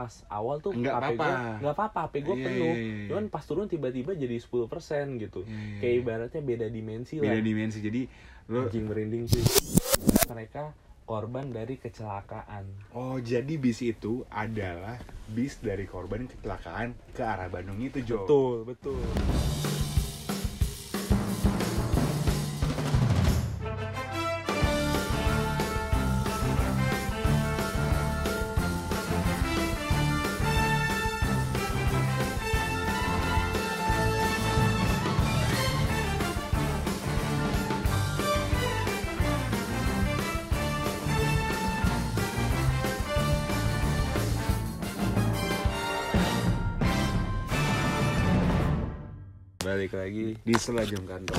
pas awal tuh Nggak HP apa-apa. gue nggak apa-apa HP gue Iya, penuh iya, iya. cuman pas turun tiba-tiba jadi 10% gitu Iya, iya, kayak iya. ibaratnya beda dimensi lah beda dimensi jadi lo anjing merinding sih mereka korban dari kecelakaan oh jadi bis itu adalah bis dari korban kecelakaan ke arah Bandung itu Jo betul betul balik lagi di sela jam kantor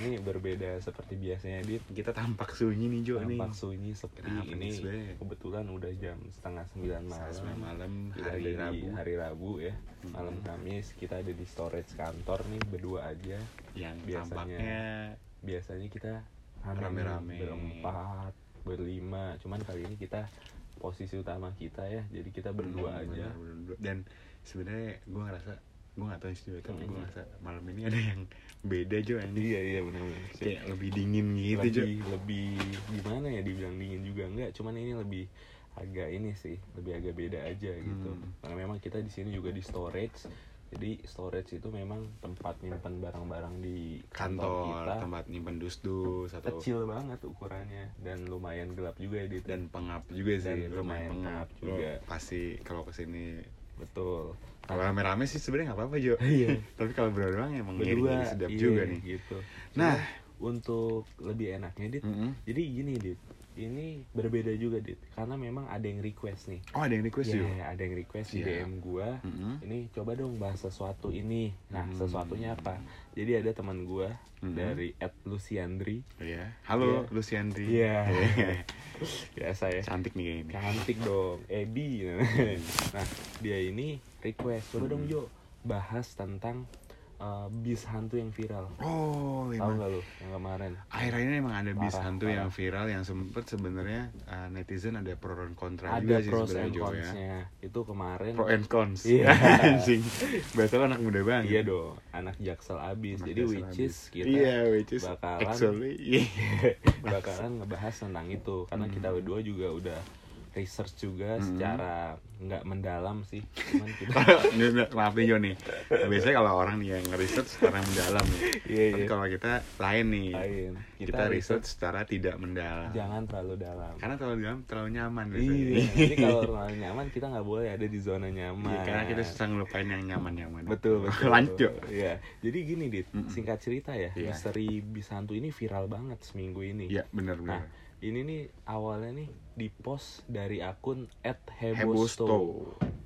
ini berbeda seperti biasanya dit kita tampak sunyi nih Jo nih tampak sunyi sepi Kenapa ini nih, Sbe? kebetulan udah jam setengah sembilan Saat malam sembilan malam Kita ada hari di Iya, Rabu Hmm. hari Rabu ya malam Kamis kita ada di storage kantor nih berdua aja yang biasanya. tampaknya biasanya kita rame-rame, Rame-rame. berempat berlima cuman kali ini kita posisi utama kita ya jadi kita berdua Hmm, aja benar, benar, benar. dan sebenarnya gue ngerasa gue gak tahu sih Jo, tapi gue Hmm. ngerasa malam ini ada yang beda Jo ini iya iya benar-benar kayak lebih dingin gitu Jo lebih lebih gimana ya dibilang dingin juga enggak cuman ini lebih agak ini sih lebih agak beda aja gitu Hmm. karena memang kita di sini juga di storage jadi storage itu memang tempat nyimpan barang-barang di kantor, kantor kita tempat nyimpen dus-dus atau kecil banget ukurannya dan lumayan gelap juga ya Dit. dan pengap juga sih Dan lumayan lumayan pengap pengap juga. Lo pasti kalau kesini betul kalau rame-rame sih sebenarnya nggak apa-apa Jo Iya. tapi kalau berdua doang emang berdua ngeri sedap iya, juga nih gitu Nah. Hmm. nah untuk lebih enaknya dit Mm-mm. jadi gini dit ini berbeda juga dit karena memang ada yang request nih oh ada yang request Ya, Iya. Jo ada yang request di Siap. DM gua Mm-mm. ini coba dong bahas sesuatu ini nah Hmm. sesuatunya apa jadi ada teman gua Mhm. dari at Luciandri Iya. halo Iya. Lucianti Iya. biasa ya cantik nih kayaknya cantik dong Ebi nah dia ini request coba Hmm. dong Jo bahas tentang eh, bis hantu yang viral tahu oh emang nggak lu yang kemarin akhirnya ini emang ada bis Parah, hantu parah. yang viral yang sempet sebenarnya uh, netizen ada pro dan kontra ada juga sih pros sebenarnya and Jo ya cons-nya itu kemarin pro and cons Iya. anjing bahasa lo anak muda banget iya dong anak jaksel abis Anak jadi jaksel which abis. is kita iya which is bakalan- actually iya. bakalan ngebahas tentang itu karena Hmm. kita berdua juga udah research juga secara nggak mendalam sih cuman kita Ini, ini, maaf nih Jo nih biasanya kalau orang nih yang nge-research secara mendalam nih Iya, tapi iya. kalau kita lain nih lain kita, research secara tidak mendalam jangan terlalu dalam karena terlalu dalam terlalu nyaman biasanya Iya, jadi kalau terlalu nyaman kita nggak boleh ada di zona nyaman. Iya, karena kita susah ngelupain yang nyaman-nyaman betul betul. lanjut Jo. Iya. Jadi gini dit, singkat cerita ya, Iya. misteri bis hantu ini viral banget seminggu ini. iya Nah, benar-benar ini nih awalnya nih di post dari akun @hebosto. Hebosto.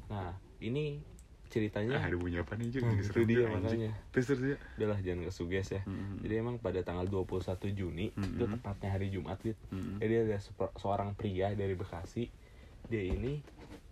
Nah, ini ceritanya Ah, ada bunyi apa nih, Jun? Nah, Jadi itu serem dia juga, anjing. makanya. Terus, terus, ya. udahlah jangan kesuges ya. Mm-mm. Jadi emang pada tanggal 21 Juni Hmm. itu tepatnya hari Jumat Dit. Mm-mm. Jadi ada sepro- seorang pria dari Bekasi. Dia ini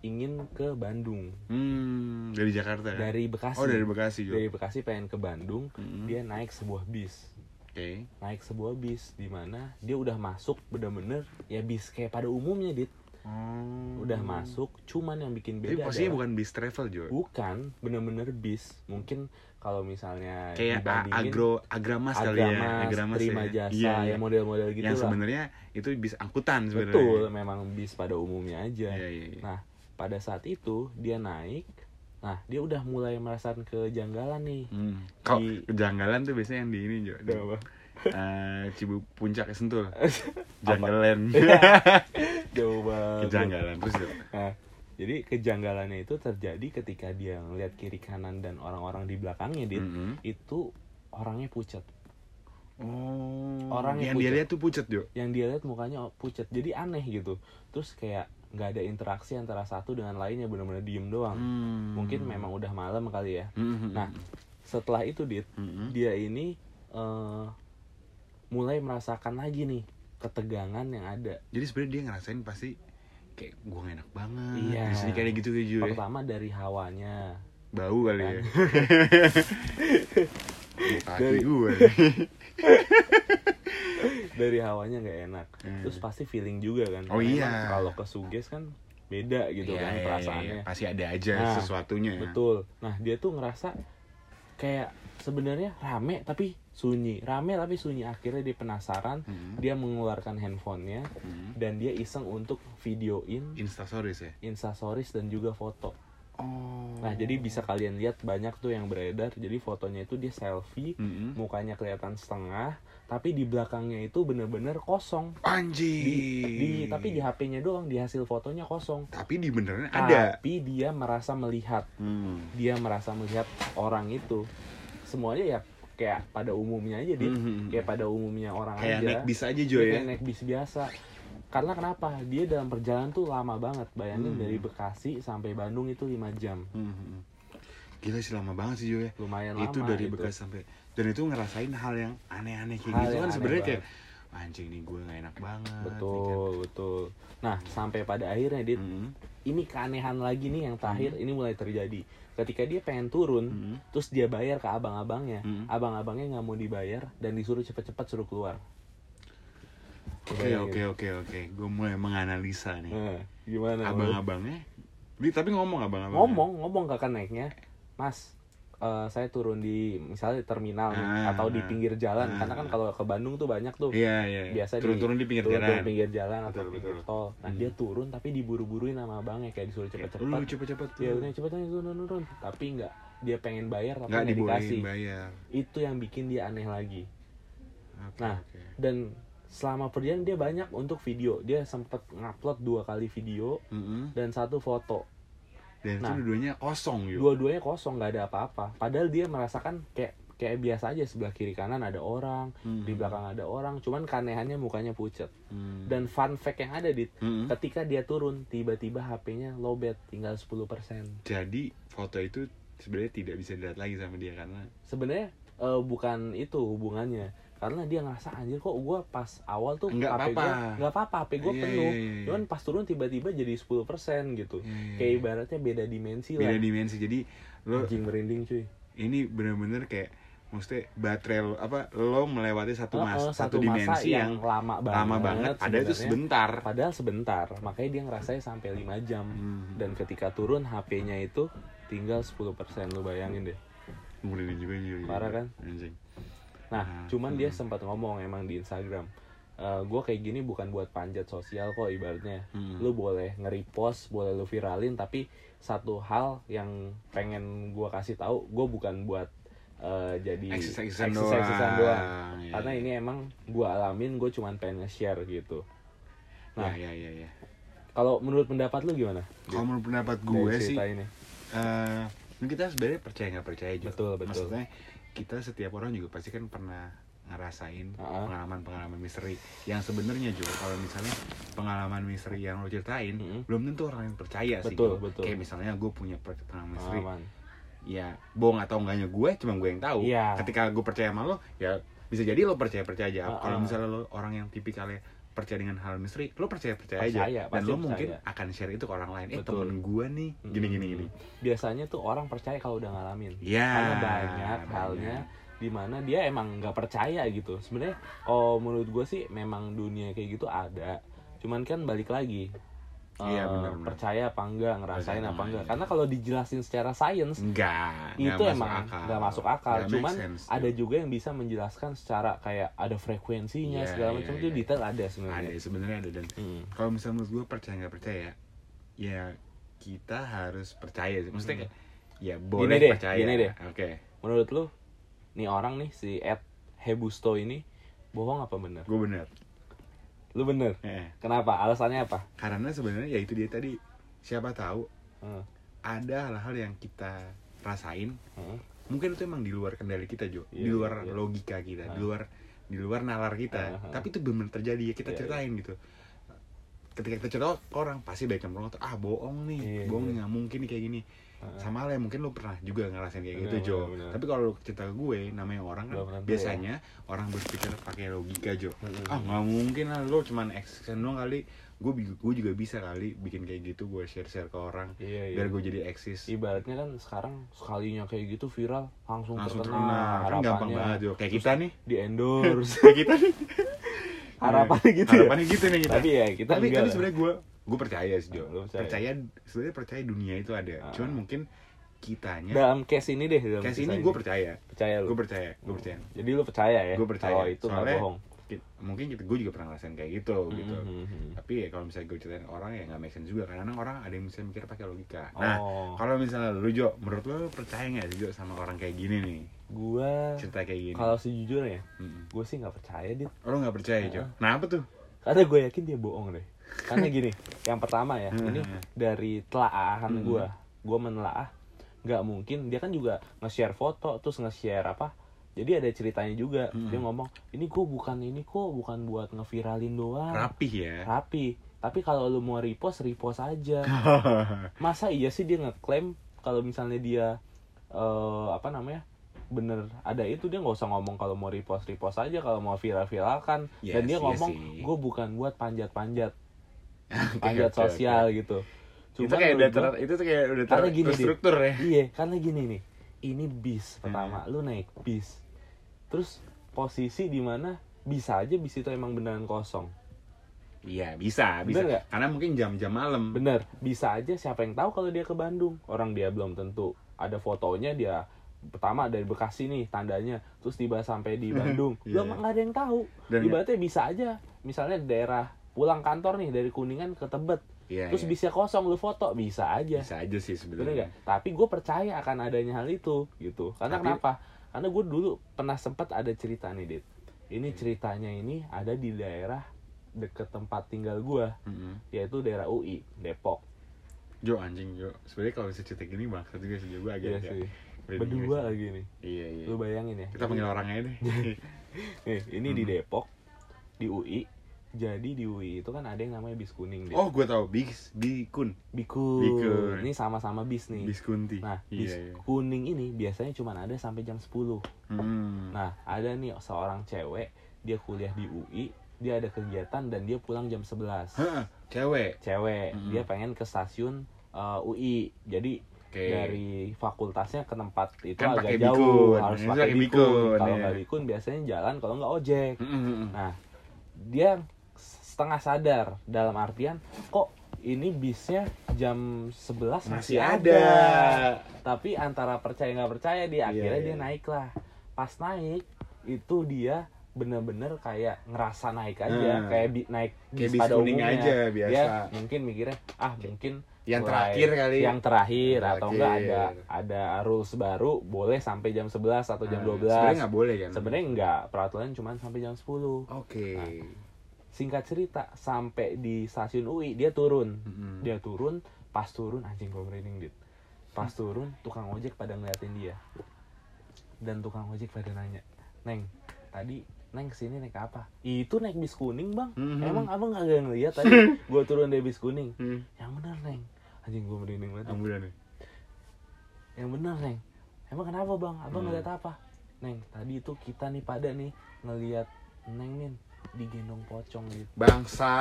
ingin ke Bandung. Hmm, dari Jakarta ya? Dari Bekasi. Oh, dari Hmm. Bekasi, Jo. Dari Bekasi pengen ke Bandung, Mm-mm. dia naik sebuah bis. Oke. Naik sebuah bis di mana dia udah masuk bener-bener ya bis kayak pada umumnya Dit. Oh. Udah masuk, cuman yang bikin Tapi beda posisinya adalah- bukan bis travel, Jo. bukan bener-bener bis. Mungkin kalau misalnya Kayak Nah, a- dibandingin- agro agramas kali ya, Agramas, terima jasa, Iya, iya. yang model-model gitu yang lah. sebenarnya itu bis angkutan sebenarnya. Betul, memang bis pada umumnya aja. Iya, iya, iya. Nah, pada saat itu dia naik, nah dia udah mulai merasakan kejanggalan nih. Hmm. Kalau Di- kejanggalan tuh biasanya yang di ini, Jo. Di, Udah apa? eh, Cibu Puncak ya, Sentul. Iya. Janggalan. Jauh banget. Kejanggalan terus, Jo. Nah, jadi kejanggalannya itu terjadi ketika dia ngeliat kiri kanan dan orang-orang di belakangnya, Dit, Mhm. itu orangnya pucat. Oh. Orang yang yang dia pucat. lihat tuh pucet, Jo. Yang dia lihat mukanya pucat, jadi aneh gitu. Terus kayak nggak ada interaksi antara satu dengan lainnya, bener-bener diem doang. Hmm. Ah, mungkin memang udah malam kali ya Mhm. nah setelah itu dit Mhm. dia ini eh, mulai merasakan lagi nih ketegangan yang ada Jadi sebenarnya dia ngerasain pasti kayak gua gak enak banget. Iya. Di sini kayak gitu kayak gitu ya. pertama dari hawanya Bau kali ya. Kaki Dari- gue. dari hawanya nggak enak Hmm. terus pasti feeling juga kan Oh Karena iya. emang kalau kesuges kan beda gitu Iya, kan iya, iya, perasaannya iya. Pasti ada aja Nah, sesuatunya. betul nah dia tuh ngerasa kayak sebenarnya rame tapi sunyi rame tapi sunyi akhirnya dia penasaran Hmm. dia mengeluarkan handphonenya Hmm. dan dia iseng untuk videoin Instastories ya. instastories dan juga foto Oh. nah jadi bisa kalian lihat banyak tuh yang beredar jadi fotonya itu dia selfie Mm-mm. mukanya kelihatan setengah tapi di belakangnya itu bener-bener kosong Anjing. di tapi di Ah. HP-nya doang di hasil fotonya kosong Tapi di beneran ada. tapi dia merasa melihat Hmm. dia merasa melihat orang itu semuanya ya kayak pada umumnya aja deh Mhm. kayak pada umumnya orang Kayak aja naik bis aja Dia Jo ya. kayak naik bis biasa karena kenapa dia dalam perjalanan tuh lama banget bayangin Hmm. dari Bekasi sampai Bandung itu 5 jam Mhm. Gila sih lama banget sih Jo ya. lumayan lama gitu. itu dari bekas sampai dan itu ngerasain hal yang aneh-aneh kayak Hal gitu yang kan aneh sebenarnya kayak anjing nih gue gak enak banget ya kan? betul betul nah sampai pada akhirnya dia Mhm. ini keanehan lagi nih yang terakhir Hmm. ini mulai terjadi ketika dia pengen turun Mhm. terus dia bayar ke abang-abangnya Hmm. abang-abangnya nggak mau dibayar dan disuruh cepet-cepet suruh keluar oke Iya, oke oke oke gue mulai menganalisa nih Nah, gimana lu? abang-abangnya Di- tapi ngomong abang-abang ngomong ngomong ke keneknya mas eh, saya turun di misalnya di terminal nih, Ah, atau di ah, pinggir jalan ah, karena kan kalau ke Bandung tuh banyak tuh iya iya biasa di- turun-turun di pinggir turun jalan pinggir jalan atau Betul, pinggir betul. tol nah Hmm. Iya, dia turun tapi diburu-buruin sama abangnya kayak disuruh cepet-cepet lu cepet-cepet ya turun. udah cepet-cepet turun turun tapi nggak dia pengen bayar tapi nggak nggak dikasih dibolehin bayar itu yang bikin dia aneh lagi Oke, Nah. oke. dan selama perjalanan dia banyak untuk video dia sempat ngupload dua kali video Mhm. dan satu foto dan itu Nah. dua-duanya kosong yuk dua-duanya kosong nggak ada apa-apa padahal dia merasakan kayak kayak biasa aja sebelah kiri kanan ada orang Mhm. di belakang ada orang cuman keanehannya mukanya pucat Mhm. dan fun fact yang ada di Mhm. ketika dia turun tiba-tiba HP-nya lowbat tinggal 10% jadi foto itu sebenarnya tidak bisa dilihat lagi sama dia karena sebenarnya eh, bukan itu hubungannya karena dia ngerasa anjir kok gue pas awal tuh Nggak HP gue apa-apa. nggak apa-apa HP gue Iya, Ya, penuh iya, iya, iya. cuman pas turun tiba-tiba jadi 10% gitu Iya, iya, kayak iya. ibaratnya beda dimensi beda lah dimensi jadi lo anjing merinding cuy ini bener-bener kayak maksudnya baterai lo, apa lo melewati satu mas Heeh, satu, masa dimensi yang, lama banget lama banget ada itu sebenarnya. sebentar padahal sebentar makanya dia ngerasain sampai 5 jam Hmm. dan ketika turun HP-nya itu tinggal 10% lu bayangin deh Merinding juga anjing, anjing. Parah kan? anjing nah Hmm. cuman dia sempat ngomong emang di Instagram gue kayak gini bukan buat panjat sosial kok ibaratnya Hmm. lu boleh nge-repost boleh lu viralin tapi satu hal yang pengen gua kasih tahu gue bukan buat eh, jadi Eksis-eksisan eksis-eksisan doang. Iya, karena iya. ini emang gua alamin gue cuman pengen nge-share gitu nah ya ya ya ya kalau menurut pendapat lu gimana kalau menurut pendapat Dari gue sih cerita ini eh kita sebenarnya percaya nggak percaya juga Betul, betul. maksudnya kita setiap orang juga pasti kan pernah ngerasain Ah. pengalaman-pengalaman misteri yang sebenarnya juga kalau misalnya pengalaman misteri yang lo ceritain Mm-mm. belum tentu orang yang percaya sih Betul, Jo. betul. kayak misalnya gue punya per- pengalaman misteri Pengalaman. ya bohong atau enggaknya gue cuma gue yang tahu Iya. ketika gue percaya sama lo ya bisa jadi lo percaya percaya aja Ah, kalau ah. misalnya lo orang yang tipikalnya percaya dengan hal misteri lo percaya percaya, Percaya, aja dan pasti lo mungkin percaya. akan share itu ke orang lain eh Betul. Hmm. temen gue nih gini gini gini biasanya tuh orang percaya kalau udah ngalamin Ya, karena banyak banyak. halnya dimana dia emang nggak percaya gitu sebenarnya kalau menurut gue sih memang dunia kayak gitu ada cuman kan balik lagi eh, Iya, benar, benar. percaya apa enggak ngerasain Percaya, apa enggak iya. karena kalau dijelasin secara sains Enggak, itu emang nggak masuk akal Nggak make cuman sense. ada juga yang bisa menjelaskan secara kayak ada frekuensinya Iya, segala iya, macam iya. itu detail ada ada sebenarnya sebenarnya ada dan Mm. kalau misalnya menurut gue percaya nggak percaya ya kita harus percaya sih. maksudnya kayak ya boleh deh, percaya Hmm. gini deh. oke menurut lu nih orang nih si Ed Hebusto ini bohong apa bener gue benar lu bener Eh, Kenapa? Alasannya apa? karena sebenarnya ya itu dia tadi siapa tahu Heeh. ada hal-hal yang kita rasain Heeh. mungkin itu emang di luar kendali kita Jo Iya, di iya, luar iya. logika kita Ah. di luar di luar Ah, nalar kita ah, ah. tapi itu benar terjadi ya kita Iya, ceritain gitu ketika kita cerita ke orang pasti banyak yang bilang ah bohong nih Iya, bohong iya. nih, nggak mungkin nih kayak gini sama lah ya, mungkin lo pernah juga ngerasain kayak Benar, gitu Jo benar, benar. tapi kalau lo cerita ke gue namanya orang kan Belum tentu, biasanya orang berpikir pakai logika Jo Mm-mm. ah nggak mungkin lah lo cuman action doang kali gue bi- gue juga bisa kali bikin kayak gitu gue share share ke orang Iya, iya. biar gue jadi eksis Ibaratnya kan sekarang sekalinya kayak gitu viral langsung, langsung terkenal terkenal. kan gampang Harapannya banget Jo kayak kita nih di endorse. kayak kita nih Harapannya gitu ya? harapannya gitu nih kita Tapi ya, kita tapi enggak tapi lah. sebenarnya gue gue percaya sih Jo Lu percaya? percaya sebenarnya percaya dunia itu ada Ah. cuman mungkin kitanya dalam case ini deh dalam kayak kisah sini gue percaya percaya lu gue percaya Hmm. gue percaya jadi lu percaya ya Gua percaya. kalau itu nggak Soalnya- bohong Ki- mungkin kita gue juga pernah ngerasain kayak gitu gitu Mhm, mhm. tapi ya kalau misalnya gue ceritain orang ya nggak make sense juga karena kadang orang ada yang bisa mikir pakai logika nah oh kalau misalnya lu Jo menurut lu percaya nggak sih Jo sama orang kayak gini nih gue cerita kayak gini kalau sejujurnya Mm-mm. gue sih nggak percaya dit Oh, lu nggak percaya Jo Ah. nah apa tuh karena gue yakin dia bohong deh karena gini yang pertama ya Hmm. ini dari telaahan Hmm. gue gue menelaah nggak mungkin dia kan juga nge-share foto terus nge-share apa jadi ada ceritanya juga Hmm. dia ngomong ini kok bukan ini kok bukan buat ngeviralin doang rapih ya rapi tapi kalau lu mau repost repost aja masa iya sih dia ngeklaim kalau misalnya dia eh apa namanya bener ada itu dia nggak usah ngomong kalau mau repost repost aja kalau mau viral viralkan dan Yes, dia iya ngomong sih. gue bukan buat panjat panjat Oke, panjat oke, oke. sosial gitu itu kayak udah menurut ter gua- itu tuh kayak udah ter Karena gini, Dit. terstruktur ya iya karena gini nih ini Hmm. bis pertama lu naik bis terus posisi di mana bisa aja bis itu emang beneran kosong iya bisa bisa Bener nggak? karena mungkin jam-jam malam Bener, bisa aja siapa yang tahu kalau dia ke Bandung. Orang dia belum tentu. Ada fotonya dia pertama dari Bekasi nih tandanya, terus tiba sampai di Bandung. Iya, Belum iya. nggak ada yang tahu. Dan Ibaratnya bisa aja misalnya daerah pulang kantor nih dari Kuningan ke Tebet, iya, terus iya. bisa kosong lu foto, bisa aja. bisa aja sih Bener sebenarnya nggak? Tapi gue percaya akan adanya hal itu gitu. Karena Tapi- kenapa? Karena gue dulu pernah sempat ada cerita nih, Dit. Ini Hmm. ceritanya ini ada di daerah deket tempat tinggal gua, Mm-mm. yaitu daerah UI, Depok. Jo anjing Jo sebenarnya kalau bisa cerita gini banget juga sih Jo gue agak Iya agak sih. merinding Berdua juga sih. lagi nih. iya iya Lu bayangin ya. kita panggil orangnya deh Nih, ini di Mhm. Depok, di UI. Jadi di UI itu kan ada yang namanya bis kuning deh. oh gue tau Bis Bikun Biku. Bikun. Ini sama-sama bis nih. Bis Kunti Nah, bis iya iya kuning ini biasanya cuma ada sampai jam 10. Hmm. Nah, ada nih seorang cewek, dia kuliah di UI, dia ada kegiatan dan dia pulang jam 11. Hah, cewek Cewek, Mhm. dia pengen ke stasiun eh, UI. Jadi Oke. dari fakultasnya ke tempat itu Kan agak pakai jauh bikun. harus Ini pakai pakai bikun, bikun, kalau ya. nggak bikun biasanya jalan kalau nggak ojek Mm, mm, mm. nah dia setengah sadar dalam artian kok ini bisnya jam 11 masih ada tapi antara percaya nggak percaya dia Iya, akhirnya iya. dia naik lah pas naik itu dia bener-bener kayak ngerasa naik aja Hmm. kayak bi- naik Kayak bis bis Iya. pada kuning umumnya. aja, biasa. Dia mungkin mikirnya ah mungkin yang mulai- terakhir kali yang terakhir, Yang atau terakhir. enggak ada ada rules baru boleh sampai jam 11 atau jam Ah, 12 sebenarnya nggak boleh kan sebenarnya enggak peraturan cuma sampai jam 10 oke Ah. singkat cerita sampai di stasiun UI dia turun Mm-mm. dia turun pas turun anjing gue merinding dit pas turun tukang ojek pada ngeliatin dia dan tukang ojek pada nanya neng tadi neng kesini naik apa itu naik bis kuning bang Mhm. emang abang agak ngeliat tadi gue turun dari bis kuning Hmm. yang bener neng anjing gue merinding banget ambulan ya? yang benar neng emang kenapa bang abang Hmm. ngeliat apa neng tadi itu kita nih pada nih ngeliat neng min digendong pocong gitu bangsa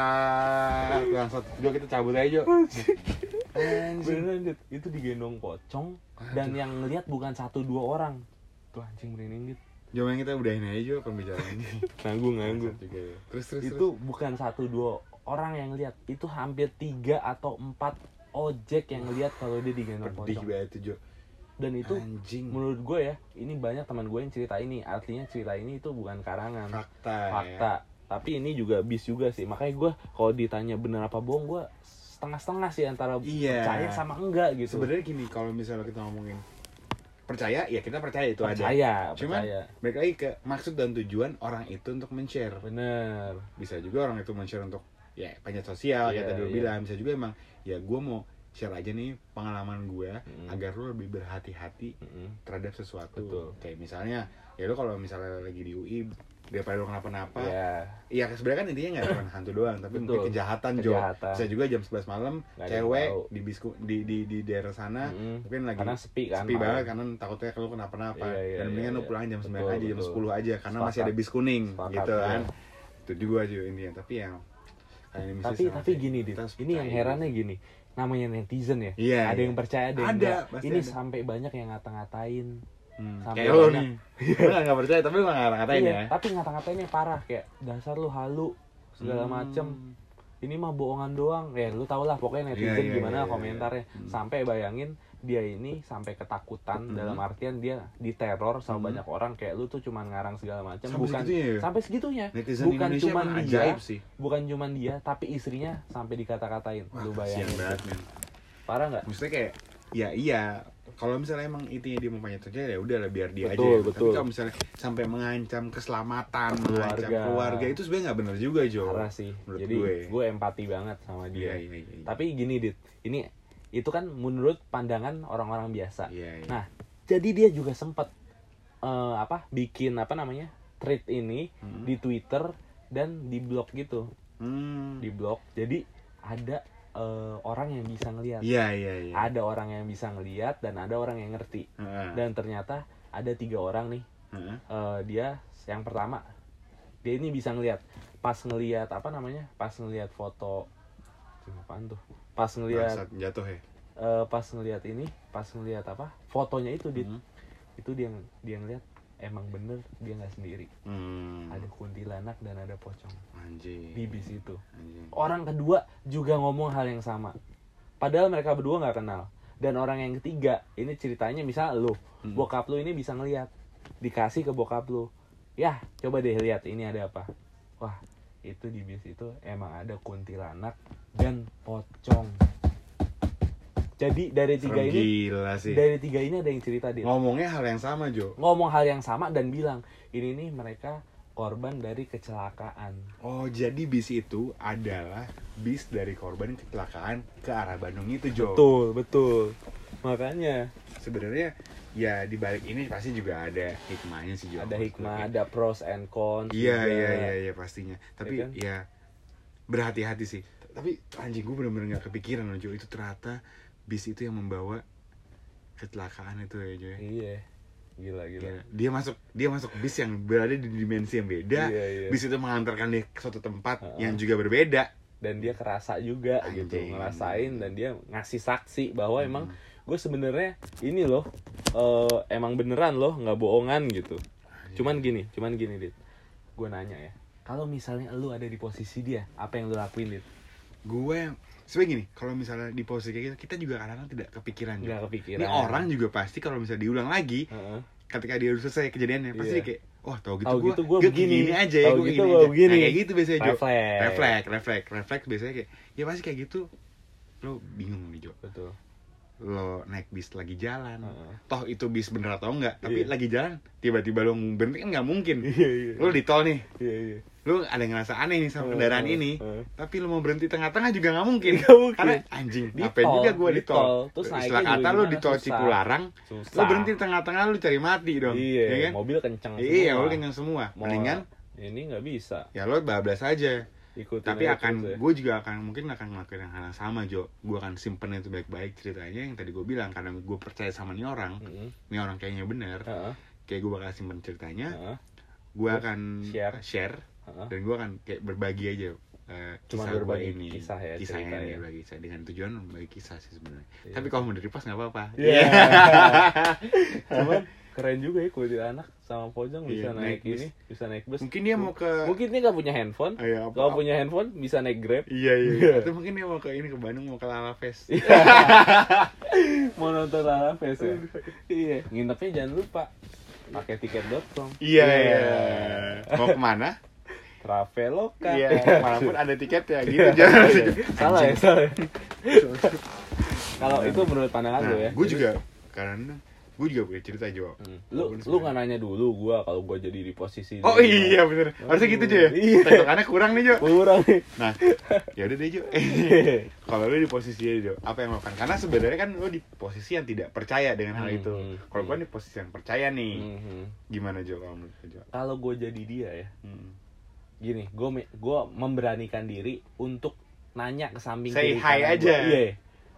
bangsa jo kita cabut aja jo anjing beneran Dit. itu digendong pocong dan yang ngeliat bukan satu dua orang tuh anjing merinding gitu. dit jo yang kita udahin aja jo pembicaraannya nanggung nanggung Bangsat juga ya. terus terus itu bukan satu dua orang yang ngeliat itu hampir tiga atau empat ojek yang ngeliat kalau dia digendong terus. pedih pocong banget tuh jo dan itu anjing menurut gue ya ini banyak teman gue yang cerita ini artinya cerita ini itu bukan karangan fakta ya. fakta tapi ini juga bis juga sih makanya gue kalau ditanya bener apa bohong gue setengah-setengah sih antara Iya. percaya sama enggak ya. gitu sebenarnya gini kalau misalnya kita ngomongin percaya ya kita percaya itu ada percaya Cuman- percaya balik lagi ke maksud dan tujuan orang itu untuk men-share bener bisa juga orang itu men-share untuk ya panjat sosial Iya, kayak tadi lu iya. bilang bisa juga emang ya gue mau share aja nih pengalaman gue Mm. agar lu lebih berhati-hati Mm-mm. terhadap sesuatu Betul. kayak misalnya ya lu kalau misalnya lagi di UI daripada lu kenapa-napa ya ya sebenarnya kan intinya nggak cuma hantu doang Betul. tapi mungkin kejahatan, Jo kejahatan bisa juga jam 11 malam Nggak ada yang cewek tahu. di bisku di di di daerah sana Mm-mm. mungkin lagi karena sepi kan sepi malam. banget karena takutnya kalau kenapa-napa Iya, iya, dan mendingan iya, lu pulang jam iya. 9 Betul, aja jam betul. 10 aja karena masih Sepakat. ada bis kuning Sepakat, gitu iya. kan itu juga juga intinya tapi yang kayak ini mesti tapi sama tapi kayak gini dit kita harus ini yang percaya. herannya gini namanya netizen ya iya ada iya. yang percaya ada yang Ada, enggak pasti ini ada. sampai banyak yang ngata-ngatain hmm. sampai kayak lu banyak. nih lu nggak nggak percaya tapi lu nggak ngatain Iya, ya Hmm. tapi ngata-ngatainnya parah kayak dasar lu halu segala macem ini mah bohongan doang ya lu tau lah pokoknya netizen Iya, iya, gimana iya, iya. komentarnya Hmm. sampai bayangin dia ini sampai ketakutan Mhm. dalam artian dia diteror sama Mhm. banyak orang kayak lu tuh cuman ngarang segala macam Sampai bukan segitunya ya? sampai segitunya Netizen bukan Indonesia cuman emang dia ajaib sih. bukan cuman dia tapi istrinya sampai dikata-katain Wah, lu kasihan bayangin banget, men. parah nggak Maksudnya kayak ya iya, kalau misalnya emang intinya dia mau panjat sosial ya udah lah biar dia aja. Betul, ya. betul. Tapi kalau misalnya sampai mengancam keselamatan, mengancam Keluarga. keluarga itu sebenarnya nggak bener juga, Jo. parah sih menurut jadi gue. gue. empati banget sama Iya, dia iya, iya. iya. tapi gini dit ini itu kan menurut pandangan orang-orang biasa Iya, iya. Nah, jadi dia juga sempat eh, apa bikin apa namanya thread ini Hmm. di Twitter dan di blog gitu Hmm. di blog jadi ada eh, orang yang bisa ngelihat Iya, iya, iya. ada orang yang bisa ngelihat dan ada orang yang ngerti Heeh, dan ternyata ada tiga orang nih heeh. Eh, dia yang pertama dia ini bisa ngelihat pas ngelihat apa namanya pas ngelihat foto Cing, apaan tuh pas ngelihat Bangsat, jatuh ya. eh, pas ngelihat ini pas ngelihat apa fotonya itu di Hmm. itu dia dia ngeliat emang bener dia nggak sendiri Hmm. ada kuntilanak dan ada pocong Anjing. di bis itu anjing. orang kedua juga ngomong hal yang sama padahal mereka berdua nggak kenal dan orang yang ketiga ini ceritanya misal lu Hmm. bokap lu ini bisa ngeliat dikasih ke bokap lu ya coba deh lihat ini ada apa wah itu di bis itu emang ada kuntilanak dan pocong jadi dari tiga Serem ini gila sih. dari tiga ini ada yang cerita dia Ngomongnya hal yang sama, Jo. ngomong hal yang sama dan bilang ini nih mereka korban dari kecelakaan Oh, jadi bis itu adalah bis dari korban kecelakaan ke arah Bandung itu, Jo. betul betul makanya Sebenarnya ya di balik ini pasti juga ada hikmahnya sih, Jo. ada hikmah Maksudnya. ada pros and cons juga. Iya, iya, iya, iya, pastinya. Tapi Ya ya, kan? berhati-hati sih. Tapi anjing gue bener-bener gak kepikiran loh, Jo. Itu ternyata bis itu yang membawa kecelakaan itu ya, Jo. ya. iya gila gila Gila. Dia masuk dia masuk bis yang berada di dimensi yang beda. Iya, iya. Bis itu mengantarkan dia ke suatu tempat Heeh. yang juga berbeda. dan dia kerasa juga gitu Anjing. ngerasain dan dia ngasih saksi bahwa Hmm. emang gue sebenarnya ini loh eh, emang beneran loh nggak bohongan gitu cuman gini cuman gini dit gue nanya ya kalau misalnya lu ada di posisi dia apa yang lu lakuin dit gue sebenarnya gini kalau misalnya di posisi kayak gitu kita juga kadang-kadang tidak kepikiran juga nggak kepikiran ini orang juga pasti kalau misalnya diulang lagi Heeh. ketika dia udah selesai kejadiannya pasti Iya. dia kayak wah tau gitu Tau gue gitu gua begini. aja ya Tau gue gitu gini gua aja begini. nah kayak gitu biasanya Jo Refleks. refleks refleks refleks biasanya kayak ya pasti kayak gitu lo bingung nih Jo betul lo naik bis lagi jalan Heeh. toh itu bis bener atau enggak tapi Iya. lagi jalan tiba-tiba lo berhenti kan nggak mungkin Iya, iya. lo di tol nih iya iya lu ada ngerasa aneh Oh, nih sama kendaraan Heeh, ini heeh. tapi lu mau berhenti tengah-tengah juga nggak mungkin. Nggak mungkin. karena anjing Di ngapain tol, juga gua di di tol, tol. Terus istilah naiknya kata juga lu gimana, di tol susah. Cipularang Susah. lu berhenti di tengah-tengah lu cari mati dong iya ya kan mobil kenceng iya semua. lu kenyang semua Mau- mendingan ini nggak bisa ya lu bablas aja ikutin tapi aja akan terus ya. gue juga akan mungkin akan ngelakuin yang hal yang sama Jo gue akan simpen itu baik-baik ceritanya yang tadi gue bilang karena gue percaya sama nih orang Mm-mm. nih orang kayaknya bener Heeh, kayak gue bakal simpen ceritanya heeh, gue akan Iya. Share. share heeh. dan gue akan kayak berbagi aja eh, Cuman gua berbagi ini kisah ya, kisahnya cerita nih, ya. berbagi kisah dengan tujuan berbagi kisah sih sebenarnya Iya. tapi kalau mau dari pas nggak apa-apa Iya. cuman cuman keren juga ya kuntilanak sama pojong bisa Iya, naik, naik bus. ini bisa naik bus mungkin dia mau ke mungkin dia nggak punya handphone Ah, iya, apa- kalau punya handphone bisa naik grab iya iya Iya. atau mungkin dia mau ke ini ke Bandung mau ke Lala Fest mau nonton Lala Fest ya iya nginepnya jangan lupa pakai tiket.com iya iya mau kemana traveloka iya manapun ada tiket ya gitu Oh, jangan iya. salah ya salah ya. kalau Nah. itu menurut pandangan lu ya gue juga karena gue juga punya cerita Hmm. lu Jo Walaupun lu sebenarnya- nggak nanya dulu gua kalau gua jadi di posisi oh dia. iya bener harusnya gitu Jo ya Iya. tektokannya kurang nih Jo kurang nih Nah, ya udah deh Jo. Kalau lu di posisi dia Jo, apa yang lo lakukan? Karena sebenarnya kan lu di posisi yang tidak percaya dengan hal Hmm, itu. hmm, Kalau gua di posisi yang percaya nih, Mhm. gimana Jo kalau menurut lu, Jo? kalau gua jadi dia ya Hmm. gini gue gua memberanikan diri untuk nanya ke samping Say kiri hi kanan aja. gua. iya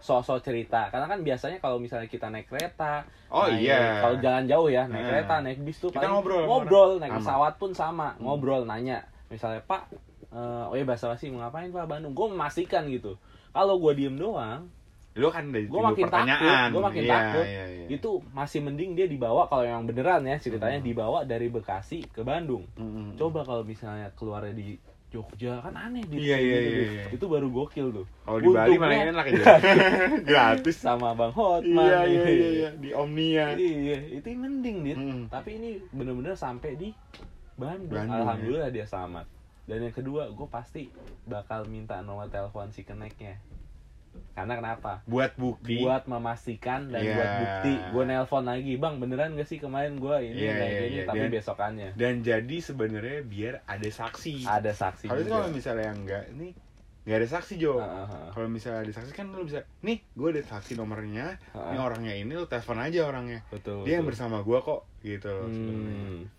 sok-sok cerita karena kan biasanya kalau misalnya kita naik kereta Oh, naik- iya. Nah, kalau jalan jauh ya naik Nah. kereta naik bis tuh Kita paling ngobrol sama ngobrol naik Sama. Hmm. pesawat pun sama ngobrol nanya misalnya pak eh, oh ya bahasa basi mau ngapain pak Bandung gue memastikan gitu kalau gua diem doang Lu kan dari gue makin takut pertanyaan. gue makin Iya, takut Gitu. iya, iya. Hmm. itu masih mending dia dibawa kalau yang beneran ya ceritanya dibawa dari Bekasi ke Bandung Mm-mm. coba kalau misalnya keluarnya di Jogja kan aneh di Iya, iya, iya, iya. itu baru gokil tuh Kalau di Bali Untungnya- malah enak aja. Gratis. sama Bang Hotman gitu. Iya, iya, iya, iya. Di Omnia. Iya, itu yang mending dit Mm. tapi ini bener-bener sampai di Bandung, Bandung, ya. alhamdulillah dia selamat dan yang kedua gue pasti bakal minta nomor telepon si keneknya karena kenapa Buat bukti. buat memastikan dan Iya. buat bukti gue nelpon lagi bang beneran gak sih kemarin gue ini Iya, kayak iya, gini iya. tapi Dan- besokannya Dan jadi sebenarnya biar ada saksi. ada saksi Harusnya juga. kalau misalnya enggak, ini nggak ada saksi Ah, Jo. ah, ah. Kalau misalnya ada saksi kan lu bisa, nih gue ada saksi nomornya, Ah. ini orangnya ini lu telepon aja orangnya. betul Dia yang betul. bersama gua kok gitu loh. Hmm.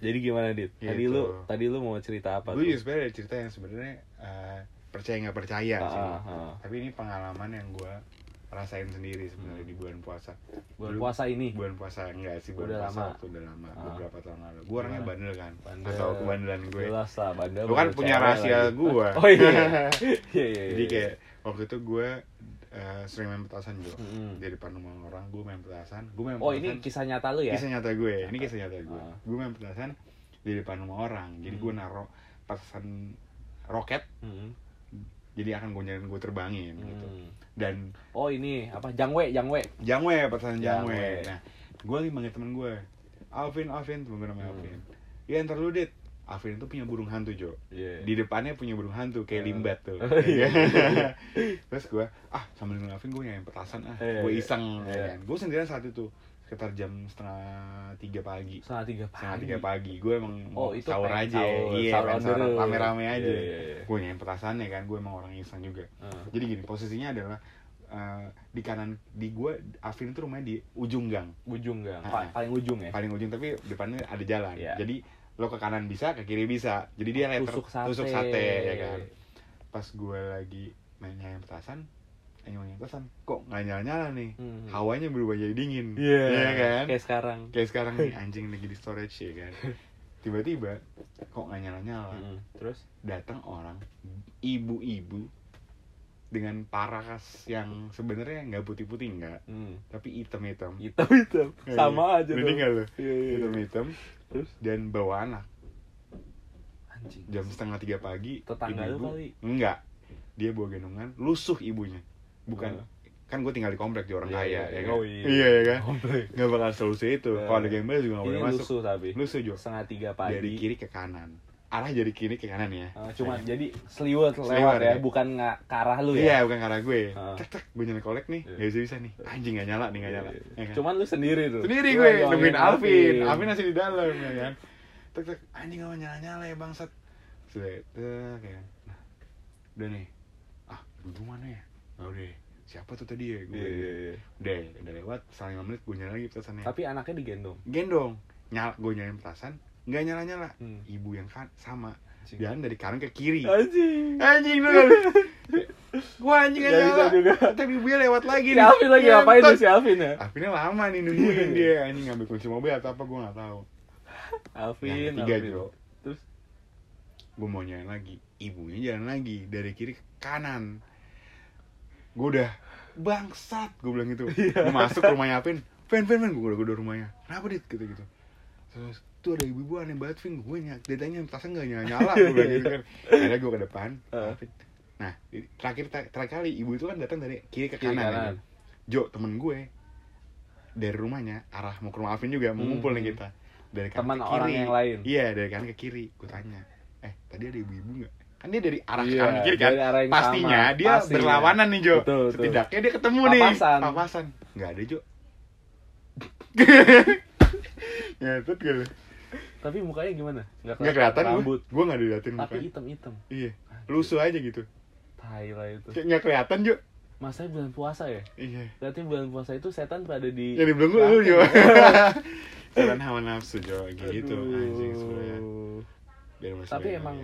jadi gimana dit tadi Gitu. lu tadi lu mau cerita apa Gue juga tuh sebenarnya ada cerita yang sebenarnya eh, percaya nggak percaya Ah, sih. ah, ah. Tapi ini pengalaman yang gua rasain sendiri sebenarnya di bulan puasa. bulan Lu- puasa ini bulan puasa enggak sih Hmm. bulan Udah puasa lama. waktu udah lama Ah. beberapa tahun lalu gue orangnya Gimana? bandel kan Bandel. atau kebandelan gue jelas lah bandel Lu kan bandel punya cewek rahasia lagi. gue oh iya iya iya jadi kayak waktu itu gue eh, sering main petasan gue Mm-mm. di depan rumah orang gue main petasan gue main Hmm. oh petasan, ini kisah nyata lu ya kisah nyata gue ini kisah nyata gue Ah. Hmm. gue main petasan di depan rumah orang jadi gue naro petasan roket Mm-mm. jadi akan gue nyariin gue terbangin Hmm, gitu Mm. dan oh ini apa jangwe jangwe Jangwe, pertanyaan Jangwe. Jangwe. Nah, gue lagi manggil temen gue. Alvin, Alvin, temen gue namanya Hmm. Alvin. Ya ntar lu, Dit. Alvin itu punya burung hantu, Jo. Iya. Di depannya punya burung hantu, kayak Hmm. limbat tuh. Oh, iya. Terus gue, ah sambil nunggu Alvin gue nyayang petasan ah. Iya, gue iya. iseng. Iya. Ya, kan. Gue sendirian saat itu, sekitar jam setengah tiga pagi. setengah tiga pagi Setengah Nah, tiga pagi, gue emang mau Oh, itu sahur pengen aja. sahur. Iya, Sahur pengen on the sahur road. rame-rame Iya, aja. iya, iya. Gue nyayang petasannya kan, gue emang orang iseng juga. Ah. Jadi gini, posisinya adalah eh, di kanan di gua Afin itu rumahnya di ujung gang, ujung gang Ah. Pa- paling ujung ya paling ujung tapi depannya ada jalan. Iya. Jadi lo ke kanan bisa, ke kiri bisa. Jadi dia letter Tusuk sate. eh, tusuk sate, ya kan. Pas gua lagi main nyayang petasan, eh, nyayang petasan, kok nggak nyala-nyala nih? Hmm. Hawanya berubah jadi dingin. Iya Iya kan? kayak sekarang Kayak sekarang nih anjing lagi di storage ya kan. Tiba-tiba kok nggak nyala-nyala. Mm-mm. Hmm. terus datang orang ibu-ibu dengan paras yang sebenarnya nggak putih-putih nggak mm. tapi hitam-hitam hitam hitam Gitu, sama aja dong. Berarti Iya, nggak Gitu, lo Iya, iya, iya. hitam-hitam terus dan bawa anak anjing jam setengah tiga pagi Tetangga lu kali? nggak dia bawa gendongan lusuh ibunya bukan Oh. kan gue tinggal di komplek di orang Iya, kaya iya, ya iya. kan Oh, iya. iya ya kan Komplek. nggak bakal solusi itu Iya. kalau ada gembel juga nggak boleh ini masuk Iya, lusuh tapi lusuh juga setengah tiga pagi dari kiri ke kanan arah dari kiri ke kanan ya Ah, cuma jadi seliwet lewat Seliwet, ya, ya. bukan nggak ke arah lu Iya, ya. bukan karena gue. Heeh. Cek cek, gue nyala kolek nih. Iya. Gak bisa bisa nih. Anjing gak nyala nih, gak nyala. Ya kan? Cuman iya, lu sendiri tuh. sendiri Lu gue doangin nungguin Alvin. iya. Alvin masih di dalam ya kan. Tek tek, anjing gak nyala nyala ya bangsat. Sudah, tek ya. Nah, udah nih. Ah, gue mana ya? Gak udah. Siapa tuh tadi ya? Gue. Iya, iya, iya. Udah, udah lewat. Selang 5 menit gue nyala lagi petasannya. Tapi anaknya digendong. Gendong. Nyala, gue nyalain petasan. Gak nyala nyala. Hmm. Oh, Ibu yang kan sama. Anjing. Jalan dari kanan ke kiri Anjing. anjing lu kan gua anjing Gak aja bisa juga. tapi ibunya lewat lagi Si Alvin lagi Ngentot. ngapain tuh si Alvin ya? Alvinnya lama nih nungguin dia anjing ngambil kunci mobil atau apa gua nggak tahu Alvin, Yang ketiga, Alvin. Jo. Terus gua mau nyalain lagi ibunya jalan lagi dari kiri ke kanan gua udah bangsat gua bilang gitu Iya. gua masuk ke rumahnya Alvin Vin, Vin, Vin, gua udah, gua udah rumahnya Kenapa, Dit? Gitu-gitu Terus, tuh ada ibu-ibu aneh banget, Vin Gue nyak, datanya tasnya gak nyala-nyala Gue bilang gitu kan Akhirnya gue ke depan Heeh. Alvin. Nah, di- terakhir, terakhir kali ibu itu kan datang dari kiri ke Kiri kanan, ya kanan. kan? Jo, temen gue Dari rumahnya, arah mau ke rumah Alvin juga Mau Hmm. ngumpul nih kita Dari Teman kanan ke kiri orang yang lain. Iya, dari kanan ke kiri Gue tanya Eh, tadi ada ibu-ibu gak? Kan dia dari arah Iya, kanan ke kiri kan dari arah yang Pastinya sama. dia Pastinya. berlawanan nih Jo Betul, betul. Setidaknya dia ketemu Papasan. nih Papasan Gak ada Jo Ya, itu gak tapi mukanya gimana? Nggak Nggak kelihatan Hmm, gue rambut, Gue gak diliatin tapi mukanya hitam-hitam. Iya Lusuh aja gitu Tai lah itu. Kayak gak kelihatan Jo Masanya bulan puasa ya? Iya Berarti bulan puasa itu setan pada di Jadi belum lu Nah, Jo Jalan hawa nafsu Jo Kayak gitu aduh. anjing sebenarnya iya. Biar masuk tapi lagi. emang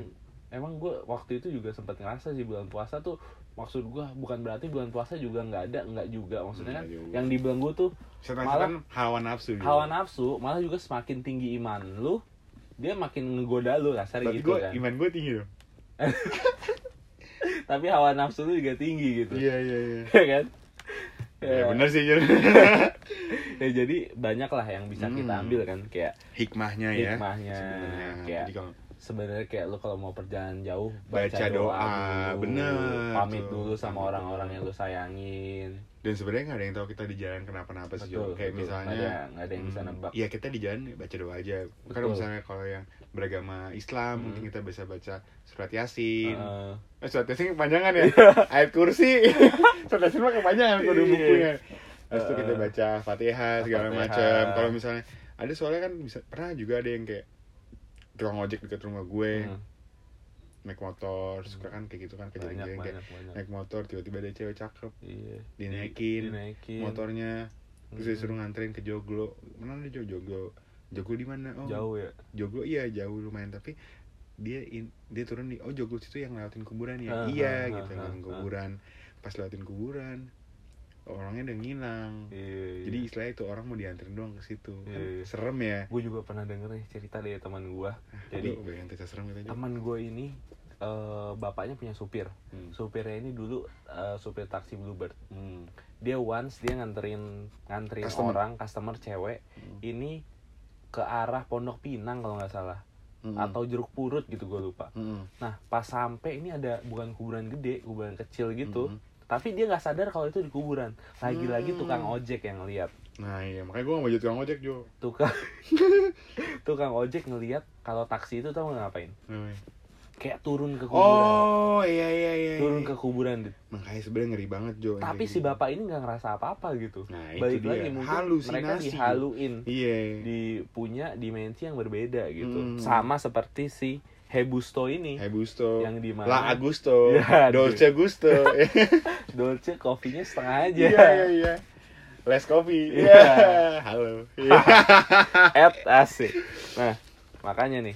emang gue waktu itu juga sempat ngerasa sih bulan puasa tuh maksud gue bukan berarti bulan puasa juga nggak ada nggak juga maksudnya kan Nggak juga. yang dibelenggu tuh Setan-setan kan hawa nafsu Jo hawa nafsu malah juga semakin tinggi iman lu dia makin ngegoda lu kasar Berarti gitu gue kan iman gue tinggi dong tapi hawa nafsu lu juga tinggi gitu Iya iya iya ya kan Iya. Ya bener sih Jo Ya, jadi banyak lah yang bisa kita Hmm. ambil kan kayak Hikmahnya ya Hikmahnya, sebenarnya. kayak- Jadi kalau sebenarnya kayak lu kalau mau perjalanan jauh Baca doa, dulu, bener pamit tuh. dulu sama Pamit orang-orang dulu. yang lu sayangin dan sebenarnya nggak ada yang tahu kita di jalan kenapa-napa sih Jo. kayak betul. misalnya nggak ada, nggak ada yang bisa Hmm, nebak Iya kita di jalan baca doa aja. Karena Betul. misalnya kalau yang beragama Islam Hmm. mungkin kita bisa baca surat yasin. Heeh. Eh, surat yasin kepanjangan ya. Ayat kursi. surat yasin mah kepanjangan kalau di Iya. bukunya. Terus itu Heeh. kita baca fatihah segala Fatihah. macam. Kalau misalnya ada soalnya kan bisa pernah juga ada yang kayak tukang ojek dekat rumah gue Hmm, naik motor suka kan kayak gitu kan kejadian banyak kayak banyak banyak naik motor tiba-tiba ada cewek cakep iya dinaikin, dinaikin motornya terus Iya, Hmm. disuruh nganterin ke Joglo mana ada Jo- Joglo Joglo di mana oh jauh ya Joglo iya jauh lumayan tapi dia in- dia turun di oh Joglo situ yang lewatin kuburan ya Ah, iya ah, gitu ah, lewatin ah. kuburan pas lewatin kuburan orangnya udah ngilang iya, iya. jadi istilahnya itu orang mau dianterin doang ke situ Kan Iya. serem ya gue juga pernah denger nih cerita dari teman gue jadi Jadi- yang terasa serem gitu aja teman gue ini eh, bapaknya punya supir Hmm. supirnya ini dulu eh, supir taksi bluebird Hmm. dia once dia nganterin nganterin Customer. orang customer cewek Hmm. ini ke arah Pondok Pinang kalau nggak salah Hmm. atau Jeruk Purut gitu gue lupa Hmm. nah pas sampai ini ada bukan kuburan gede kuburan kecil gitu Hmm. tapi dia nggak sadar kalau itu di kuburan lagi-lagi Hmm. tukang ojek yang ngeliat nah iya makanya gue gak mau jadi tukang ojek Jo tukang tukang ojek ngeliat kalau taksi itu tau nggak ngapain kayak turun ke kuburan oh iya iya iya turun iya. ke kuburan Dit. makanya sebenarnya ngeri banget Jo yang tapi kayak si gitu. bapak ini nggak ngerasa apa-apa gitu nah itu balik dia lagi mungkin mereka halusinasi dihaluin iya di punya dimensi yang berbeda gitu Hmm. sama seperti si Hebusto ini Hai Busto yang di La mana Agusto, Ya, Dolce Gusto. Dolce kopinya setengah aja Iya, iya, iya. Les Coffee. Iya. Iya. Halo. Iya. at asik nah makanya nih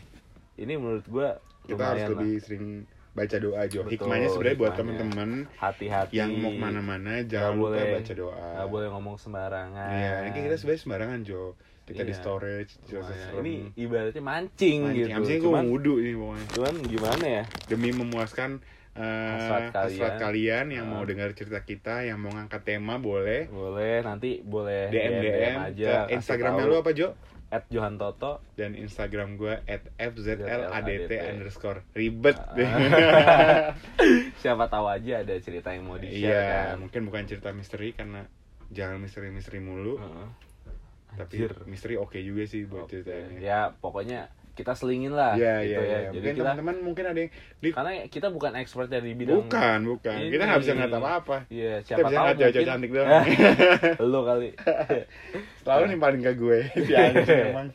ini menurut gua Kita harus lumayan lebih sering baca doa Jo. Betul, Hikmahnya sebenarnya buat hikmahnya. teman-teman lah. hati-hati yang mau kemana-mana jangan lupa boleh. baca doa. nggak boleh ngomong sembarangan Iya, ini kita sebenarnya sembarangan Jo. Kita di Iya. storage, jelas Lumayan. serem. ini ibaratnya mancing, Mancing. gitu Abis ini gue cuman mau wudhu ini pokoknya. cuman gimana ya Demi memuaskan eh, Hasrat kalian. hasrat kalian yang Ah. mau dengar cerita kita, yang mau ngangkat tema boleh. boleh nanti boleh DM DM aja ke Instagramnya lu apa Jo? at Johan Toto dan Instagram gue at fzladt FZLADT. underscore ribet Ah. siapa tahu aja ada cerita yang mau di iya share kan mungkin bukan cerita misteri karena jangan misteri-misteri mulu Heeh. tapi Ah, Anjir. misteri oke juga sih buat Oke. ceritanya ya pokoknya kita selingin lah iya iya gitu iya. ya jadi mungkin kita teman-teman mungkin ada yang di- karena kita bukan expert dari bidang bukan bukan kita nggak bisa ini. ngeliat apa-apa Iya, kita siapa bisa tahu ngeliat cewek mungkin cantik doang lo kali selalu nimpalin ke gue si Iya. anjing emang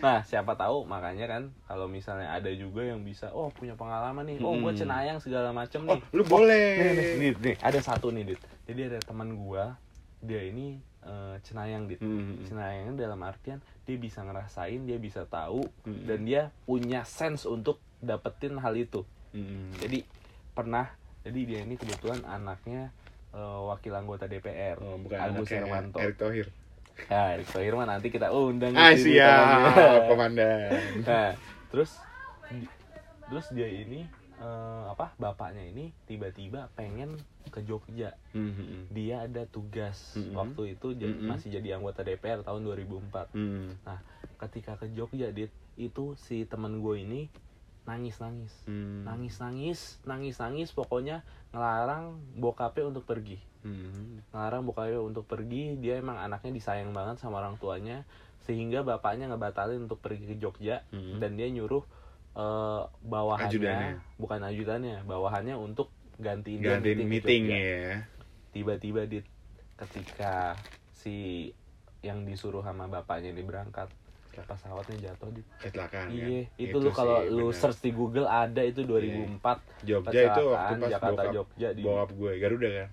nah siapa tahu makanya kan kalau misalnya ada juga yang bisa oh punya pengalaman nih oh gue Hmm. cenayang segala macem oh nih lu boleh Nih, nih, nih, nih, ada satu nih dit jadi ada teman gua dia ini eh, cenayang dit Hmm. cenayangnya dalam artian dia bisa ngerasain dia bisa tahu Hmm. dan dia punya sense untuk dapetin hal itu Mm-mm. jadi pernah jadi dia ini kebetulan anaknya eh, wakil anggota DPR Oh, bukan Agus anaknya, Hermanto Erick Thohir nah Erick Thohir mah nanti kita undang ah di sini, siap temannya. komandan Nah, terus terus dia ini eh, apa bapaknya ini tiba-tiba pengen ke Jogja Mm-mm. dia ada tugas Mm-mm. waktu itu jadi Mm-mm. masih jadi anggota DPR tahun 2004 Mm. ketika ke Jogja dit itu si teman gue ini nangis nangis Mm. nangis nangis nangis nangis pokoknya ngelarang bokapnya untuk pergi Mm. ngelarang bokapnya untuk pergi dia emang anaknya disayang banget sama orang tuanya sehingga bapaknya ngebatalin untuk pergi ke Jogja Mm. dan dia nyuruh eh, bawahannya Ajudannya. bukan ajudannya bawahannya untuk gantiin dia gantiin ke meeting gitu Jogja. ya tiba-tiba dit ketika si yang disuruh sama bapaknya ini berangkat Ya. pesawatnya jatuh dit kecelakaan iya kan? itu, lu kalau sih, lu bener. Iya. search di Google ada itu 2004 Jogja itu waktu kecelakaan pas Jakarta bokap, Jogja di bokap gue Garuda kan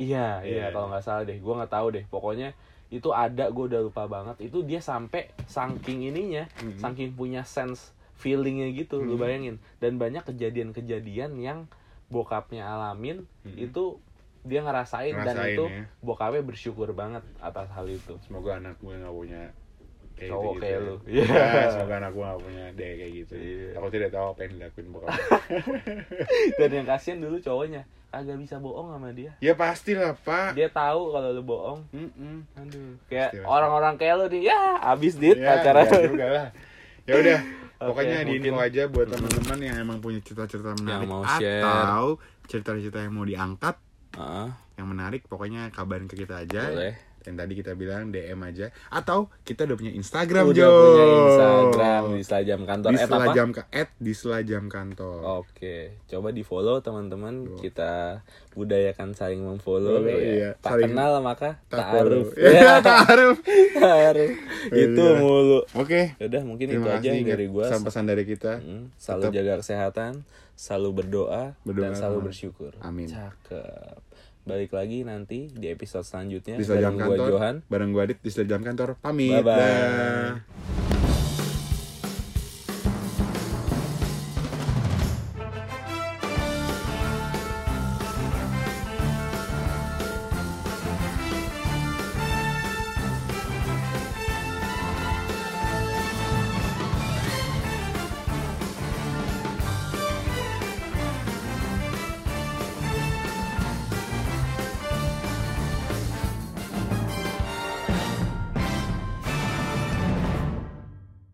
Iya, iya, Iya. kalau nggak salah deh. Gua nggak tahu deh. Pokoknya itu ada, gue udah lupa banget. Itu dia sampai saking ininya, Mm. saking punya sense feelingnya gitu, lu Mm. bayangin. Dan banyak kejadian-kejadian yang bokapnya alamin Mm. itu dia ngerasain, dan Ngerasain itu ya. bokapnya bersyukur banget atas hal itu. semoga anak gue gak punya kayak Cowok gitu-gitu kayak ya. lu. Ya, Iya. semoga anak gue gak punya deh kayak gitu Iya. aku tidak tahu apa yang dilakuin bokap Dan yang kasihan dulu cowoknya kagak bisa bohong sama dia. ya pastilah pak Dia tahu kalau lu bohong. Mm-mm. Aduh, kayak Pasti, pasti. orang-orang kayak lu nih, ya abis dit ya, acara. ya juga lah ya udah Pokoknya di info mungkin. aja buat teman-teman yang emang punya cerita-cerita menarik mau share. atau cerita-cerita yang mau diangkat Heeh, yang menarik pokoknya kabarin ke kita aja. boleh. Yang tadi kita bilang DM aja atau kita udah punya Instagram Udah Jo. punya Instagram di Selajam Kantor. Eh, di apa? Oh, selajam ke at di selajam kantor. Oke, coba di follow teman-teman. Kita budayakan saling memfollow. Follow, iya. ya. Tak Saling- kenal maka tak Takut. aruf. Ya, Ya, taaruf. taaruf. Itu Iya. mulu. Ya Oke. Udah mungkin itu iya. Terima aja kasih yang dari gua. Sam- pesan dari kita. Mm, Selalu jaga kesehatan, selalu berdoa, Berdoa, dan selalu teman. bersyukur. Amin. Cakep. Balik lagi nanti di episode selanjutnya. Di Bareng selajam gua kantor. Johan. Bareng gua Adit di selajam kantor. Pamit. Bye-bye. Dah.